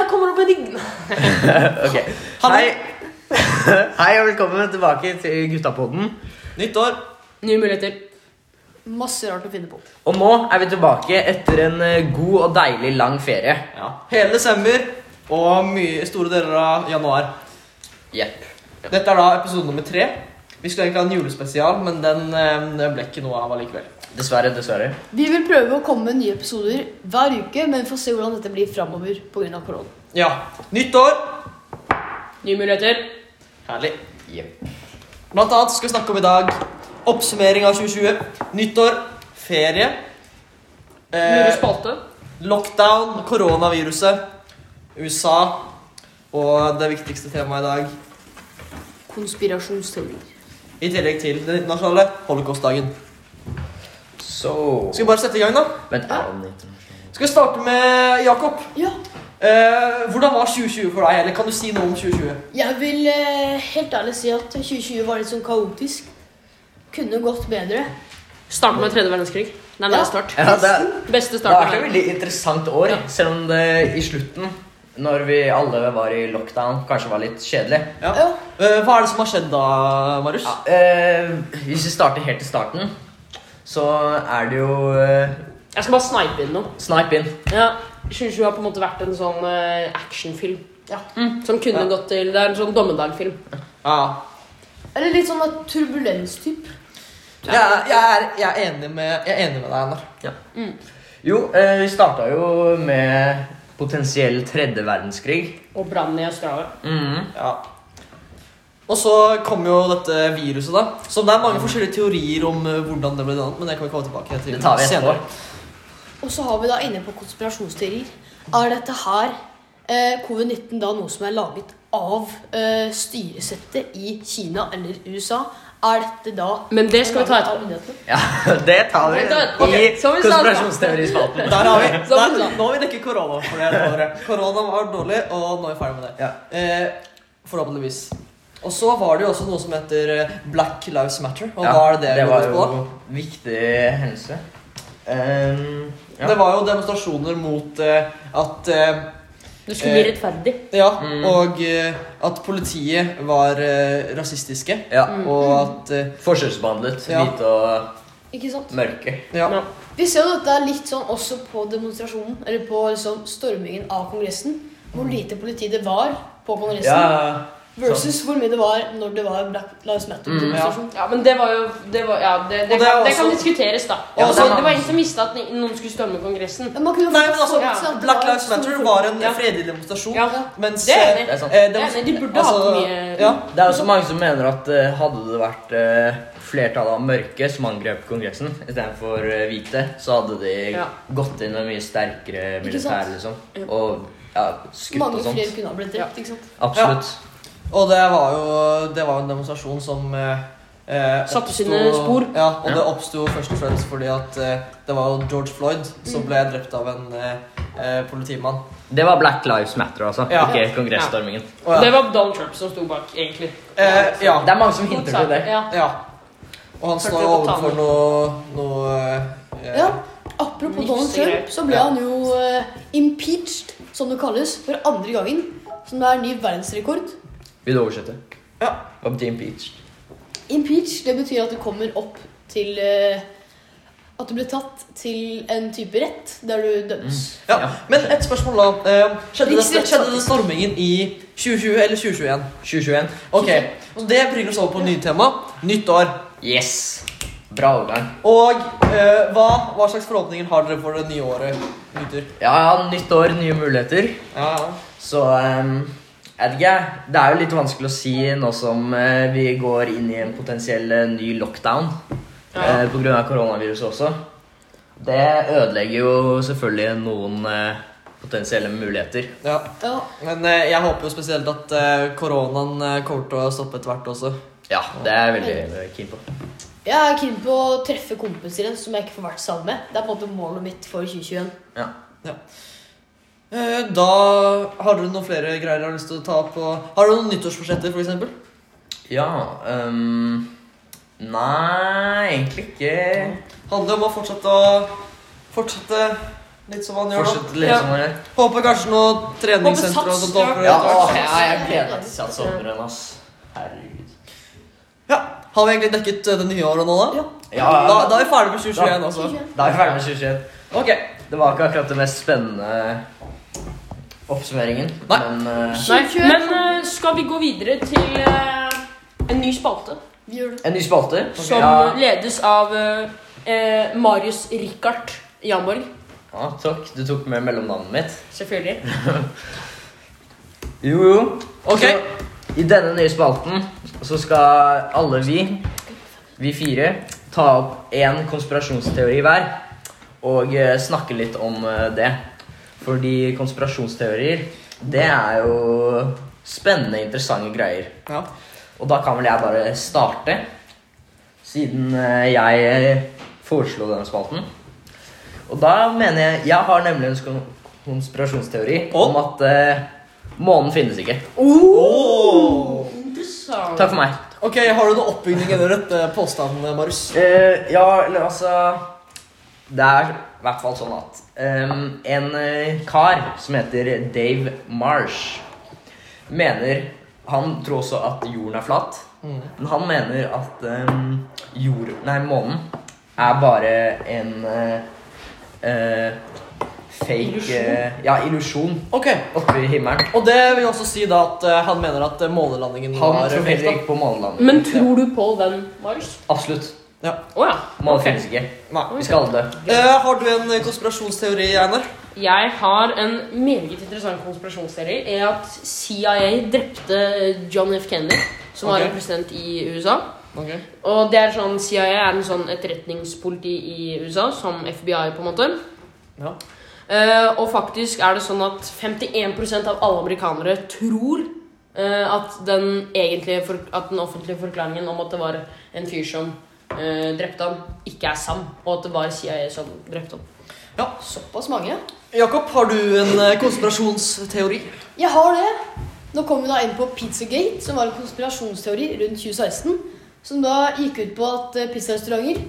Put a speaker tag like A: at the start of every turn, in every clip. A: med de
B: Ok.
A: Ha
B: Hei.
A: det.
B: Hei og velkommen tilbake til Guttapodden.
C: Nytt år.
A: Nye muligheter. Masse rart å finne på.
B: Og nå er vi tilbake etter en eh, god og deilig lang ferie.
C: Ja. Hele desember og mye, store deler av januar.
B: Jepp.
C: Dette er da episode nummer tre. Vi skulle egentlig ha en julespesial, men den eh, ble ikke noe av allikevel.
B: Dessverre, dessverre.
A: Vi vil prøve å komme med nye episoder hver uke, men vi får se hvordan dette blir framover pga. korona.
C: Ja. Nytt år.
A: Nye muligheter.
C: Herlig.
B: Jepp.
C: Blant annet skal vi snakke om i dag oppsummering av 2020. Nyttår, ferie, eh,
A: spalte.
C: lockdown, koronaviruset, USA og det viktigste temaet i dag.
A: Konspirasjonsteorier.
C: I tillegg til den internasjonale holocaustdagen.
B: Så
C: Skal vi bare sette i gang, da?
B: Vent, er den internasjonal?
C: Skal vi starte med Jakob?
A: Ja.
C: Eh, hvordan var 2020 for deg? Eller kan du si noe om 2020?
A: Jeg vil eh, helt ærlig si at 2020 var litt sånn kaotisk. Kunne gått bedre.
D: Starte med tredje verdenskrig. Det
A: Ja.
D: er en nærmest start.
B: Ja, det er
D: Beste
B: det har vært
D: starten.
B: et
D: her.
B: veldig interessant år, selv om det i slutten, når vi alle var i lockdown, kanskje var litt kjedelig.
C: Ja.
A: Ja.
C: Eh, hva er det som har skjedd da, Marius?
B: Ja, eh, hvis vi starter helt til starten, så er det jo eh,
D: Jeg skal bare snipe inn noe.
B: Snipe in.
D: Ja, 2020 har på en måte vært en sånn eh, actionfilm.
A: Ja.
D: Mm, som kunne
C: Ja.
D: gått til Det er en sånn dommedagfilm.
C: Ja.
A: Eller litt sånn at turbulens-typ.
C: Jeg, er- jeg, er, jeg, er enig med, jeg er enig med deg, Einar.
B: Jo, eh, vi starta jo med potensiell tredje verdenskrig.
D: Og brannen i Australia.
C: Ja. Og så kom jo dette viruset, da. Som det er mange forskjellige teorier om eh, hvordan det ble dannet. Men det kan vi komme tilbake til
B: Mm. Det tar vi etterpå.
A: Og så har vi da inne på konspirasjonsteorier. Er dette her eh, covid-19 da noe som er laget av eh, styresettet i Kina eller USA? Er dette da
D: Men det skal vi ta etterpå.
A: av myndighetene?
B: Ja, det tar vi
D: Ok,
B: i
D: som vi sa-
B: konspirasjonsteorispalten.
C: Der har vi.
D: Så
C: Der,
D: bra.
C: nå har vi dekket korona. for det er dårlig. Korona var dårlig, og nå er vi ferdig med det.
B: Ja.
C: Eh, forhåpentligvis. Og så var det jo også noe som heter eh, Black Lives Matter. Og
B: Ja,
C: hva er det
B: det
C: vi
B: var
C: går
B: jo
C: på da?
B: viktig hendelse. Ehm, ja.
C: Det var jo demonstrasjoner mot eh, at eh,
D: Du skulle bli
C: Eh.
D: rettferdig.
C: Ja,
B: Mm.
C: og eh, at politiet var eh, rasistiske.
B: ja.
C: Og at eh,
B: Forskjellsbehandlet
C: Ja.
B: hvite og
A: Ikke sant?
B: mørke.
C: Ja.
D: Ja.
A: Vi ser jo dette litt sånn også på demonstrasjonen, eller på liksom stormingen av Kongressen. Hvor lite politi det var på
B: Ja,
A: Kongressen, versus hvor mye det var når det var Black Lives
D: Mm.
A: Matter-demonstrasjon.
D: Ja, men det var jo Det, var, ja, det, det,
C: Og det er
D: kan, det
C: også-
D: kan diskuteres, da.
C: Ja,
D: Også,
C: det er-
D: det var ingen som visste at noen skulle storme Kongressen.
A: Men man kunne
C: Nei, men altså,
A: forutse at det
C: Black
A: var
C: Lives
A: stor
C: Matter var en
D: Ja.
C: fredelig demonstrasjon.
D: Ja.
C: Mens
D: Det er
C: eh,
D: enig.
B: det er sånn. sant.
C: eh,
D: Det er
C: demons-
D: enig, de burde hatt mye-
C: altså, Ja.
B: Det er også mange som mener at eh, hadde det vært eh, flertallet av mørke som angrep Kongressen istedenfor uh, hvite, så hadde de
D: Ja.
B: gått inn med mye sterkere
A: Ikke
B: militær,
A: sant?
B: liksom.
D: Ja.
B: Og ja, skutt og
A: Mange
B: sånt.
A: flere kunne ha blitt drept, ikke sant?
B: Absolutt.
C: Og det var jo det var jo en demonstrasjon som eh, eh,
D: Satte
C: oppsto-
D: sine spor.
C: Ja, og
B: Ja.
C: det oppsto først og fremst fordi at eh, det var jo George Floyd
D: Mm.
C: som ble drept av en eh, eh, politimann.
B: Det var Black Lives Matter, altså.
C: Ja.
B: Ikke kongressstormingen.
C: Og ja.
D: Det var Donald Trump som sto bak, egentlig.
C: Eh, ja.
B: Det er mange som hinter til det.
D: Ja.
C: ja. Og han står
D: Hørte
C: jo
D: du på talen?
C: overfor noe, noe eh,
A: Ja, Apropos
D: Niks
A: Donald Trump,
D: greier.
A: så ble
C: Ja.
A: han jo eh, impeached, som det kalles, for andre gangen. Som er ny verdensrekord.
B: Vil du oversette?
C: Ja.
B: Om Dean Peach.
A: Impeached det betyr at det kommer opp til eh, At du blir tatt til en type rett der du dømmes.
C: Ja.
B: Ja.
C: Men et spørsmål, da. Eh, skjedde, det,
A: Riksrett-
C: skjedde det stormingen i 2020 eller 2021?
B: 2021.
C: Ok, og Det bringer oss over på et nytt tema. Nytt år.
B: Yes! Bra overgang.
C: Og eh, hva, hva slags forhåpninger har dere for det nye året? Gutter?
B: Ja, ja, nytt år, nye muligheter.
C: Ja, ja.
B: Så ehm, jeg vet ikke. Det er jo litt vanskelig å si nå som eh, vi går inn i en potensiell eh, ny lockdown
D: Ja.
B: eh, på grunn av koronaviruset også. Det ødelegger jo selvfølgelig noen eh, potensielle muligheter.
C: ja.
A: Ja.
C: Men eh, jeg håper jo spesielt at eh, koronaen eh, kommer til å stoppe etter hvert også.
B: Ja, det er jeg veldig eh, keen på.
A: Jeg er keen på å treffe kompiser igjen som jeg ikke får vært sammen med. Det er på en måte målet mitt for 2021.
B: Ja.
C: Eh, da har dere noen flere greier dere har lyst til å ta opp? og- Har dere noen nyttårsforsetter, for eksempel?
B: ja ehm, Nei, egentlig ikke.
C: Handler om å fortsette å fortsette Litt som han gjør nå.
B: Fortsett å lese om det.
C: Håper kanskje noe treningssenter og
D: Håper
C: sånt
D: Sats
C: åpner
D: gjør-
B: Ja,
C: etter
B: å,
C: hvert.
B: ja, jeg gleder meg til sats sommeren, ass. Herregud.
C: Ja. Har vi egentlig dekket eh, det nye året nå, da?
A: Ja.
B: Ja, ja,
C: Da,
B: ja.
C: da er vi ferdig med 2021 også.
B: Da er vi ferdig med 2021.
C: Ok.
B: Det var ikke akkurat det mest spennende oppsummeringen,
C: Nei.
B: men eh,
D: Nei,
A: 2021.
D: men eh, skal vi gå videre til eh, en ny spalte?
A: Vi gjør det.
B: en ny spalte.
D: Som
B: Ja.
D: ledes av eh, eh, Marius Richard Jamborg.
B: ja, takk. Du tok med mellomnavnet mitt.
D: Selvfølgelig.
B: Jo, jo.
C: Ok.
B: Så, I denne nye spalten så skal alle vi, vi fire, ta opp én konspirasjonsteori hver. Og eh, snakke litt om eh, det. Fordi konspirasjonsteorier, det er jo spennende, interessante greier.
C: Ja.
B: Og da kan vel jeg bare starte, siden eh, jeg foreslo denne spalten. Og da mener jeg Jeg har nemlig en skon- konspirasjonsteori
C: Å.
B: om at eh, månen finnes ikke.
C: Oh.
D: Interessant.
B: Takk for meg.
C: Ok, Har du noe oppbygning under dette påstanden, Marius?
B: Eh, ja, eller altså Det er i hvert fall sånn at ehm, en eh, kar som heter Dave Marsh, mener Han tror også at jorden er flat.
C: Mm.
B: Men han mener at ehm, jord... Nei, månen er bare en eh, eh, fake eh, Ja, illusjon
C: Ok,
B: oppe i himmelen.
C: Og det vil jo også si da at eh, han mener at eh, månelandingen
B: Han
C: var
B: tror
C: fake, da.
B: heller ikke på månelandet.
D: Men tror du på den, Marius?
B: Absolutt.
C: Ja.
D: Å ja.
B: Månen
D: ok.
B: finnes ikke.
C: Nei.
B: Vi skal alle dø.
C: Eh, har du en eh, konspirasjonsteori, Einar?
D: Jeg har en meget interessant konspirasjonsserie. Er at CIA drepte eh, John F. Kennedy, som
C: Ok.
D: var en president i USA.
C: Okay.
D: Og det er sånn, CIA er en sånn etterretningspoliti i USA, som FBI, på en måte.
C: Ja.
D: Eh, og faktisk er det sånn at 51 av alle amerikanere tror eh, at, den egentlige for, at den offentlige forklaringen om at det var en fyr som eh, drepte ham, ikke er sann. Og at det var CIA som drepte ham.
A: Såpass mange.
C: Jakob, har du en eh, konspirasjonsteori?
A: Jeg har det. Nå kom vi da inn på Pizzagate, som var en konspirasjonsteori rundt 2016. Som da gikk ut på at eh, pizzarestauranter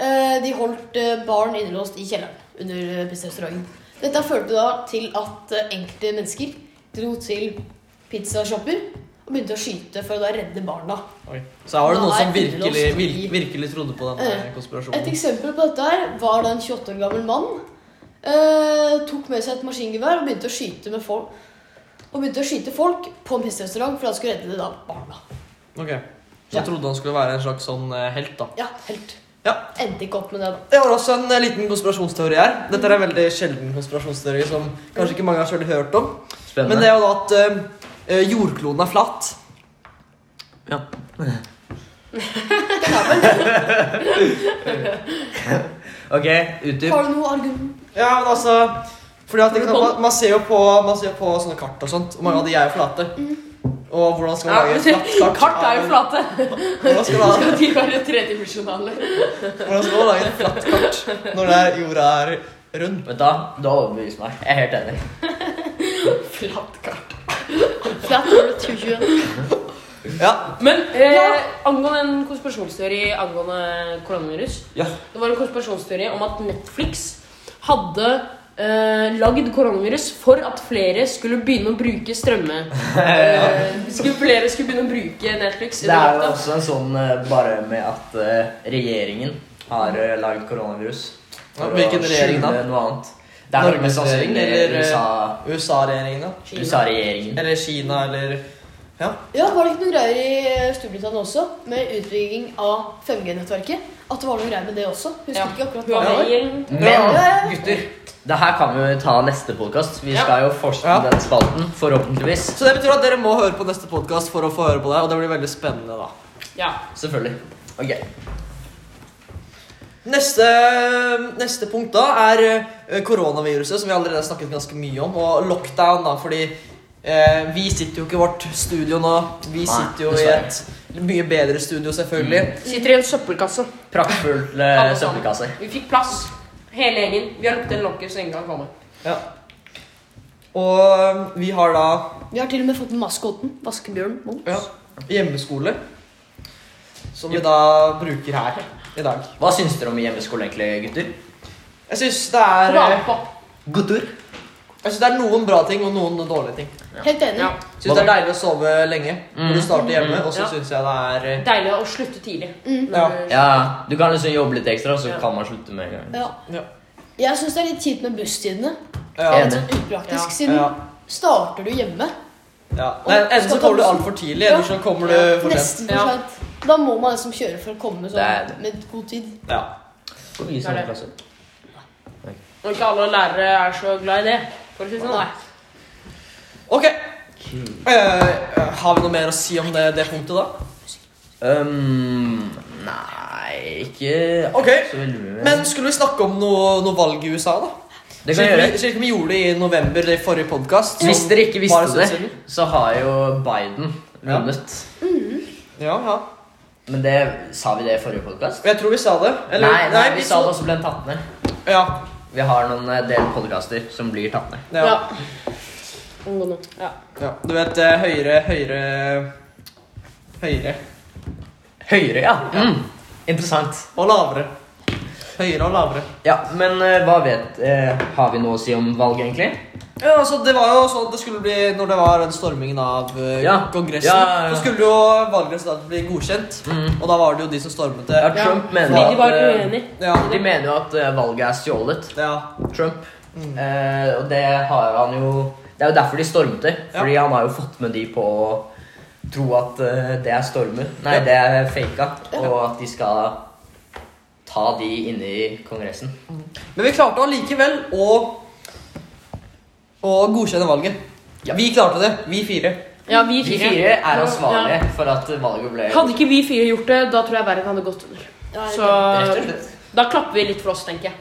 A: eh, De holdt eh, barn innelåst i kjelleren under eh, pizzarestauranten. Dette førte da til at eh, enkelte mennesker dro til pizzashopper og begynte å skyte for å da redde barna.
C: Så her var det noen
A: Nei,
C: som virkelig,
A: innelåst
C: vir
A: i-
C: virkelig trodde på denne
A: Eh, Et
C: konspirasjonen.
A: eksempel på dette her var da en 28 år gammel mann eh, tok med seg et maskingevær og begynte å skyte med folk Og begynte å skyte folk på en pizzarestaurant for han skulle redde det da barna.
C: Ok, Så
A: Ja.
C: trodde han skulle være en slags sånn eh, helt, da.
A: Ja, helt.
C: Ja.
A: Endte ikke opp med det, da.
C: Jeg har også en eh, liten konspirasjonsteori her. Dette er en veldig sjelden konspirasjonsteori som kanskje ikke mange har selv hørt om. Men det
B: Spennende.
C: er jo da at eh, eh, jordkloden er flat.
B: Ok, utdyp.
A: Har du noe argument?
C: Ja, men altså fordi at ikke sant, man, man, ser jo på, man ser jo på sånne kart og sånt, og mange av de er jo flate. Og hvordan skal man lage et flatt kart?
D: Mm. Kart er jo flate!
C: Hvordan skal man,
D: Skal de være tredimensjonale?
C: hvordan skal man lage et flatt kart når det er, jorda er rund?
B: Vet du, hva? du har overbevist meg. Jeg er helt enig.
D: Flatt kart.
A: Flat Earth 2021.
C: Ja.
D: Men eh,
A: Ja.
D: angående en konspirasjonsteori angående koronavirus
C: Ja.
D: Det var en konspirasjonsteori om at Netflix hadde eh, lagd koronavirus for at flere skulle begynne å bruke strømme. Eh, skulle, flere skulle begynne å bruke Netflix.
B: Det er jo
C: altså.
D: under natta.
B: også en sånn eh, bare med at eh, regjeringen har eh, lagd koronavirus.
C: Ja,
B: for
C: hvilken
B: å
C: regjering da?
B: skjule Noe annet. Det er
C: Norges
B: nok mest sannsynlig
C: regjering, eller, eh,
B: USA-
C: USA-regjeringen, da.
D: Kina.
B: USA-regjeringen.
C: Eller Kina, eller Ja.
A: Ja, var det ikke noen greier i eh, Storbritannia også, med utbygging av 5G-nettverket? At det var noen greier med det også? Husker
D: Ja.
A: ikke akkurat hva det var.
D: Huawei-gjengen.
B: Men gutter, det her kan vi jo ta neste podkast. Vi
D: Ja.
B: skal jo fortsette
C: Ja.
B: den spalten, forhåpentligvis.
C: Så det betyr at dere må høre på neste podkast for å få høre på det, og det blir veldig spennende, da.
D: Ja.
B: Selvfølgelig. Ok.
C: Neste, neste punkt da er eh, koronaviruset, som vi allerede har snakket ganske mye om, og lockdown, da, fordi eh, vi sitter jo ikke i vårt studio nå. Vi
B: Nei,
C: sitter jo i
B: dessverre. Mm.
C: et mye bedre studio, selvfølgelig.
D: Sitter i en søppelkasse.
B: Praktfulle
C: Eh,
D: Alle sammen.
B: søppelkasser.
D: Vi fikk plass. Hele gjengen. Vi har lukket en lokker så ingen kan komme.
C: Ja. Og vi har da
A: Vi har til og med fått med maskoten, Vaskebjørn Mons.
C: ja, hjemmeskole, som vi da bruker her i dag.
B: Hva syns dere om hjemmeskole, egentlig, gutter?
C: Jeg syns det er eh,
D: Tilbake på.
B: God tur.
C: Jeg synes det er noen bra ting og noen dårlige ting.
A: Helt enig.
D: Ja.
C: Jeg eh, synes det er deilig å sove lenge
B: Mm.
C: når du starter hjemme, og så
D: Mm. Ja.
C: synes jeg det er eh,
D: Deilig å slutte tidlig.
A: Mm.
D: eh,
C: Ja.
B: Ja, Du kan liksom jobbe litt ekstra, så
D: Ja.
B: kan man slutte med en gang.
A: Ja.
C: eh, Ja.
A: Jeg syns det er litt kjipt med busstidene.
C: Ja.
A: Litt sånn upraktisk,
D: Ja.
A: siden
C: Ja.
A: starter du hjemme.
C: ja. Nei, enten så kommer du altfor tidlig, eller så kommer du for sent.
A: Nesten for
D: Ja.
A: seint. Da må man liksom kjøre for å komme
B: Det er det.
A: sånn med god tid.
C: Ja.
B: Får vi
D: Det er
B: sånn
D: det.
B: klasse?
D: Og ikke alle lærere er så glad i det. For å si det sånn.
A: Nei.
C: Ok. Eh, har vi noe mer å si om det, det punktet, da?
B: Um, nei, ikke
C: Ok.
B: så veldig mye. mer.
C: Men skulle vi snakke om noe, noe valg i USA, da?
B: det kan jeg
C: Slik vi-
B: gjøre.
C: Slik vi gjorde det i november i forrige podkast.
B: Hvis dere ikke visste det, så har jo Biden
C: Ja.
B: vunnet.
C: Ja, ja.
B: Men det sa vi det i forrige podkast?
C: Jeg tror vi sa det. Eller,
B: nei, nei, vi
C: så-
B: sa det også ble den tatt ned.
C: Ja.
B: Vi har noen eh, del podkaster som blir tatt ned.
C: ja. ja.
D: Unngå nå. Ja.
C: Du vet eh, høyre, høyre Høyre
B: Høyere, ja. Mm. Interessant.
C: og lavere. Høyere og lavere.
B: Ja, Men eh, hva vet eh, Har vi noe å si om valg, egentlig?
C: Ja, altså Det var jo sånn det skulle bli når det var den stormingen av eh,
B: Ja.
C: Kongressen.
B: Ja, ja, ja.
C: Så skulle jo valgresultatet bli godkjent,
B: Mm.
C: og da var det jo de som stormet det.
B: Ja, Trump mener
D: Fordi de var
B: at eh,
D: uenige.
C: Ja.
B: De mener jo at eh, valget er stjålet.
C: ja.
B: Trump. Eh, og det har han jo Det er jo derfor de stormet det.
C: Ja.
B: Fordi han har jo fått med de på å tro at eh, det er stormer. Nei,
C: Ja.
B: det er faka. Og at de skal ta de inne i Kongressen.
C: Men vi klarte allikevel å Å godkjenne valget.
B: Ja.
C: Vi klarte det, vi fire.
D: ja, vi
B: De
D: fire.
B: fire er ansvarlige
D: Ja.
B: for at valget ble
D: Hadde ikke vi fire gjort det, da tror jeg verden hadde gått under.
A: Ja,
D: Så
B: Rett og slett.
D: da klapper vi litt for oss, tenker jeg.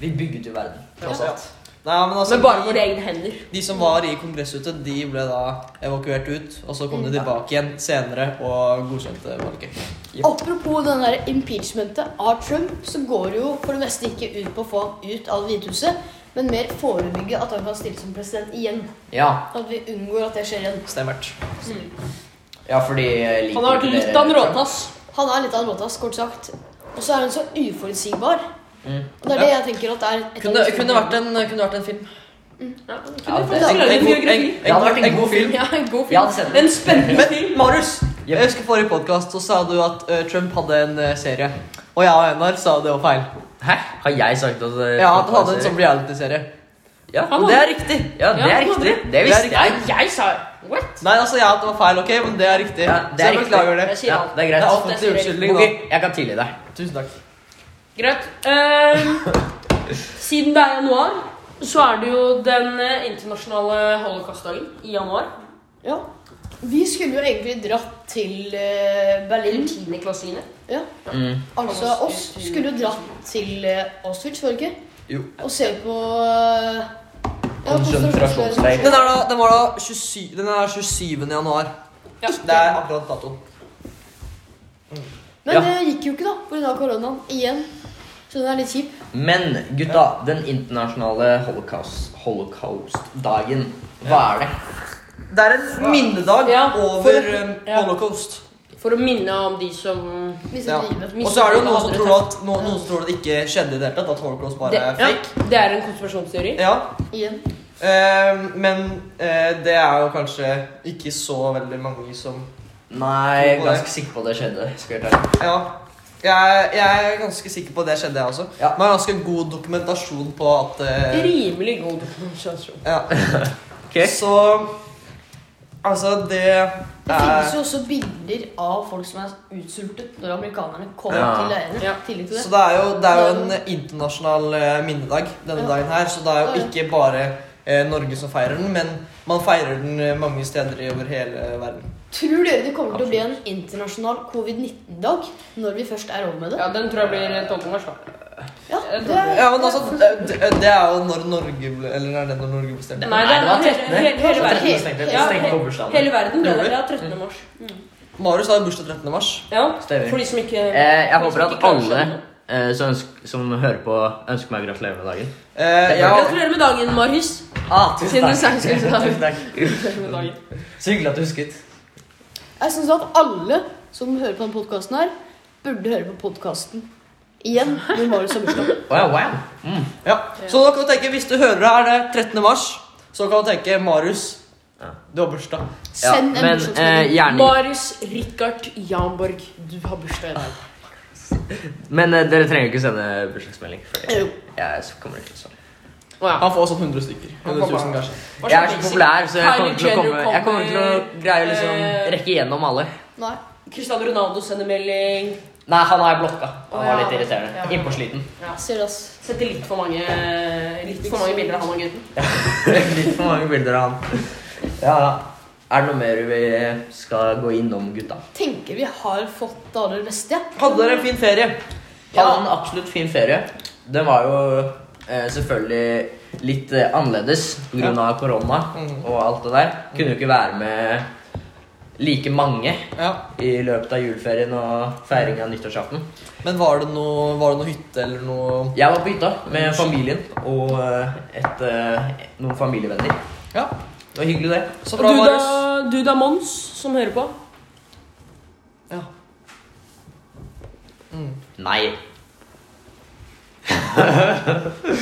B: Vi bygget jo verden. Tross
C: Ja.
B: alt.
C: Nei, men altså,
D: Men bare
C: de-
D: våre egne hender.
C: De som var i kongresshuset, de ble da evakuert ut. Og så kom de tilbake igjen senere og godkjente valget.
A: Apropos den der impeachmentet av Trump, så går det jo for det meste ikke ut på å få han ut av Det hvite huset, men mer forebygge at han kan stille som president igjen.
B: Ja.
A: At vi unngår at det skjer igjen.
C: Stemmert.
B: ja, fordi eh, liker
D: Han har vært
B: ikke dere liksom.
D: litt av en
B: Trump?
D: råtass.
A: Han er litt av en råtass, kort sagt. Og så er han så uforutsigbar.
B: Mm.
A: Og det er
C: Ja.
A: det jeg tenker at er et
C: Kunne, kunne, vært en, kunne vært en film.
D: Ja, det
B: Ja,
D: kunne
B: det-
D: faktisk lagd en biografi.
B: Det hadde vært en god film.
D: Ja, en god
B: Jeg hadde sett
D: film.
B: den.
D: En spennende
C: Men Marius,
B: Yep.
C: jeg husker forrige podkast, så sa du at eh, Trump hadde en eh, serie. Og jeg og Einar sa det var feil.
B: Hæ? Har jeg sagt at eh,
C: Ja,
B: Trump
C: han hadde en
B: var-
C: sånn reality-serie.
B: ja,
D: Han
B: det er
D: hadde-
B: riktig. Ja, det
D: Ja,
B: er
D: han hadde
B: riktig.
D: det.
B: Det visste
C: Det er
B: jeg.
D: Nei, jeg sa What?
C: Nei, altså, ja, det var feil, ok, men det er riktig.
B: Ja, det
C: så
B: er
C: jeg
B: riktig.
C: beklager det.
D: Jeg sier
B: Ja,
D: alt.
B: det er
C: Det er
B: greit.
C: offentlig unnskyldning,
B: Ok,
C: da.
B: jeg kan tilgi deg.
C: Tusen takk.
D: Greit. Ehm, siden det er januar, så er det jo den eh, internasjonale holocaustdagen i januar.
A: Ja. Vi skulle jo egentlig dratt til eh, Berlin.
C: Mm.
D: Eller tiendeklassingene.
A: Ja.
B: Mm.
A: Altså, oss skulle jo dratt til eh, Auschwitz, var det ikke?
B: Jo.
A: Og se på eh, ja,
B: Konsentrasjonsleir.
C: Den, er da, den var da 27, den er 27. januar.
D: Ja.
C: Det er akkurat datoen.
A: Men
B: Ja.
A: det gikk jo ikke, da, pga. koronaen. Igjen. Så den er litt kjip.
B: Men gutta, den internasjonale holocaust- holocaust-dagen, hva er det?
C: Det er en minnedag
D: Ja, for-
C: over eh,
D: ja.
C: holocaust.
D: For å minne om de som
A: Hvis ja.
C: Ja.
A: driver.
D: Vi
C: Og så er det jo noen som
D: hadde
C: tror
D: det.
C: at, noen, noen som tror at det ikke skjedde i det hele tatt. At holocaust
D: det,
C: bare er
D: ja,
C: fake.
D: det er en konspirasjonsteori.
C: Ja.
A: Igjen.
C: eh, men eh, det er jo kanskje ikke så veldig mange som
B: Nei, jeg er
C: Tror på
B: ganske sikker på at det skjedde. Skal jeg være ærlig.
C: Ja. Jeg, jeg er ganske sikker på at det skjedde, jeg også.
B: Ja.
C: Man har ganske god dokumentasjon på at eh,
D: Rimelig god konspirasjon.
C: ja. Så Altså, det
A: Det
C: er
A: finnes jo også bilder av folk som er utsultet når amerikanerne kommer
B: Ja.
A: til leirene.
D: Ja.
A: i tillegg til
C: Så
A: det.
C: det er jo, det er jo en internasjonal eh, minnedag denne
A: Ja.
C: dagen her. Så det er
A: Ja,
C: jo
A: ja.
C: ikke bare eh, Norge som feirer den, men man feirer den eh, mange steder i- over hele verden.
A: Tror dere det kommer til å bli en internasjonal covid-19-dag når vi først er over med det?
D: Ja, den tror jeg blir 12. mars. da.
A: Ja,
D: jeg
A: det
D: tror
A: er,
C: Ja, men altså, det, det det er jo når Norge ble Eller er det når Norge ble stemt?
D: Nei, det er
B: var
D: hele,
B: trettende.
D: hele, hele verden.
A: Helt-
B: Stengte-
D: ja,
B: stengte på
D: he-
B: bursdagen.
D: Hele verden ble det.
C: Gjorde
D: Ja, 13. mars. Mm.
C: Marius har jo bursdag 13. mars.
D: Ja,
B: Stemmer.
D: for de som ikke
B: Eh, jeg
D: for de som
B: håper
D: ikke
B: at
D: klarer
B: alle
D: seg.
B: eh, som, ønsker, som hører på, ønsker meg gratulerer med dagen.
C: Eh,
B: Det er
C: ja,
B: bra.
D: Gratulerer med dagen, Marius.
B: Ah,
D: tusen Siden du takk. sa jeg skulle ta den.
B: takk.
D: Gratulerer med dagen.
B: Så hyggelig at du husket.
A: jeg syns at alle som hører på denne podkasten her, burde høre på podkasten Igjen, når Marius har bursdag.
B: Wow, wow. Mm.
C: Ja. Så da kan du tenke, hvis du hører det her det er 13. mars, så kan du tenke Marius,
B: Ja.
C: du har bursdag.
B: Ja,
A: Send en
B: men eh,
A: bursdagsmelding.
B: gjerne
D: Marius Richard Jamborg, du har bursdag i dag.
B: Men eh, dere trenger ikke sende bursdagsmelding. For
A: Eh, Jo.
B: jeg, jeg kommer ikke til å svare.
D: Å ja.
C: Han får sånn 100 stykker. 100 000 kanskje.
D: Hva
B: Jeg er så
D: slags
B: populær, så jeg
D: Kylie
B: kommer til å,
D: Jenner
B: komme, jeg kommer til å
D: kommer,
B: greie å liksom
D: eh,
B: rekke igjennom alle.
A: Nei.
D: Cristiano Ronaldo sender melding.
B: Nei, han har jeg blokka. Han var
D: Å, ja.
B: litt irriterende.
D: Ja.
B: Innpåsliten.
A: Ser du, ass.
D: Setter litt for mange, litt for mange bilder av han og gutten.
B: litt for mange bilder av han. Ja, ja. Er det noe mer vi skal gå innom, gutta?
A: Tenker vi har fått det aller beste. ja.
C: Hadde dere en fin ferie?
B: Hadde en absolutt fin ferie. Den var jo eh, selvfølgelig litt eh, annerledes pga. av korona
D: Mm.
C: Mhm.
B: og alt det der. Kunne jo ikke være med like mange
C: Ja.
B: i løpet av juleferien og feiring av nyttårsaften.
C: Men var det noe, var det noe hytte eller noe
B: Jeg var på hytta med familien og eh, et, eh, noen familievenner.
C: Ja.
B: Det var hyggelig, det.
C: Så
D: Og
C: bra,
D: du da,
C: Marius.
D: du da, Mons, som hører på.
C: Ja.
B: Nei.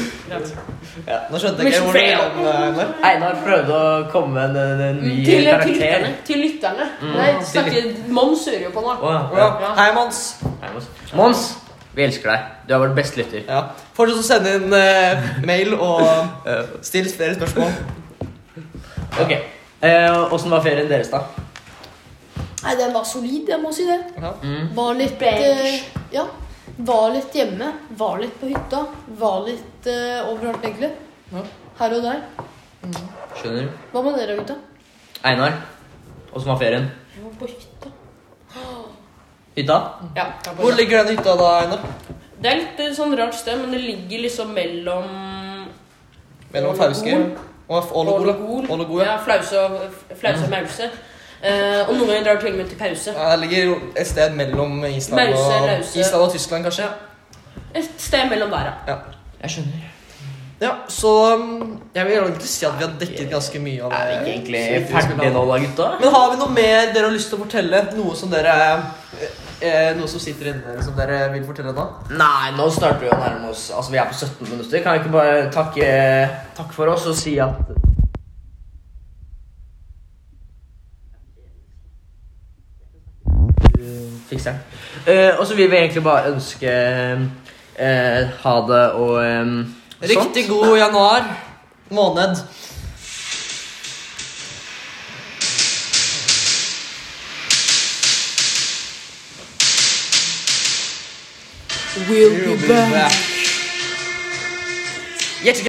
C: Nå skjønte jeg ikke
D: Mission
C: hvor det eh, kom. Einar.
B: Einar prøvde å komme med en, en, en ny
D: Til, til
B: karakter.
D: lytterne. Til lytterne. Nei, snakker, Mons hører jo på nå.
B: Å,
C: Mm. Å
B: ja.
C: ja. Hei, Mons.
B: Hei, Mons. Mons, vi elsker deg. Du er vår beste lytter.
C: Ja. Fortsett å sende inn eh, mail og eh, still flere spørsmål.
B: Ok. Eh, Åssen var ferien deres, da?
A: Nei, den var solid, jeg må si det.
C: Ja.
B: Mm,
A: Var litt eh,
D: Beige.
A: Ja. Var litt hjemme. Var litt på hytta. Var litt eh, overalt, egentlig.
C: Ja.
A: Her og der.
B: Skjønner du?
A: Hva med dere, gutta?
B: Einar, åssen var ferien?
A: Jeg var på hytta.
B: Hytta?
D: Ja, jeg er på
C: Hvor ligger den hytta da, Einar?
D: Det er litt eh, sånn rart sted, men det ligger liksom mellom
C: Mellom Fauske
D: Ålegol.
C: og Ålegol. ja. Ålegol, ja. Mm.
D: Ja, Flause og Flause og Mause. Eh, og noen ganger drar til og med til pause.
C: Ja, Det ligger jo et sted mellom Island
D: Mause,
C: og,
D: Lause.
C: Island og Tyskland, kanskje.
D: Et sted mellom der, ja.
C: Ja.
B: Jeg skjønner.
C: ja, så um, jeg vil egentlig si at vi har dekket ganske mye av
B: Er vi ikke
C: det.
B: egentlig
C: Så vi skulle
B: ferdige
C: ha-
B: nå, da, gutta?
C: Men har vi noe mer dere har lyst til å fortelle? Noe som dere eh, Noe som sitter inni dere, som dere vil fortelle nå?
B: Nei, nå starter vi å nærme oss Altså, vi er på 17 minutter. Kan vi ikke bare takke, takke for oss og si at Du Fikser den. Eh, og så vil vi egentlig bare ønske eh, ha det og eh, sånt.
C: Riktig god januar måned.
D: We'll be back.
B: sånn.
C: Hjertelig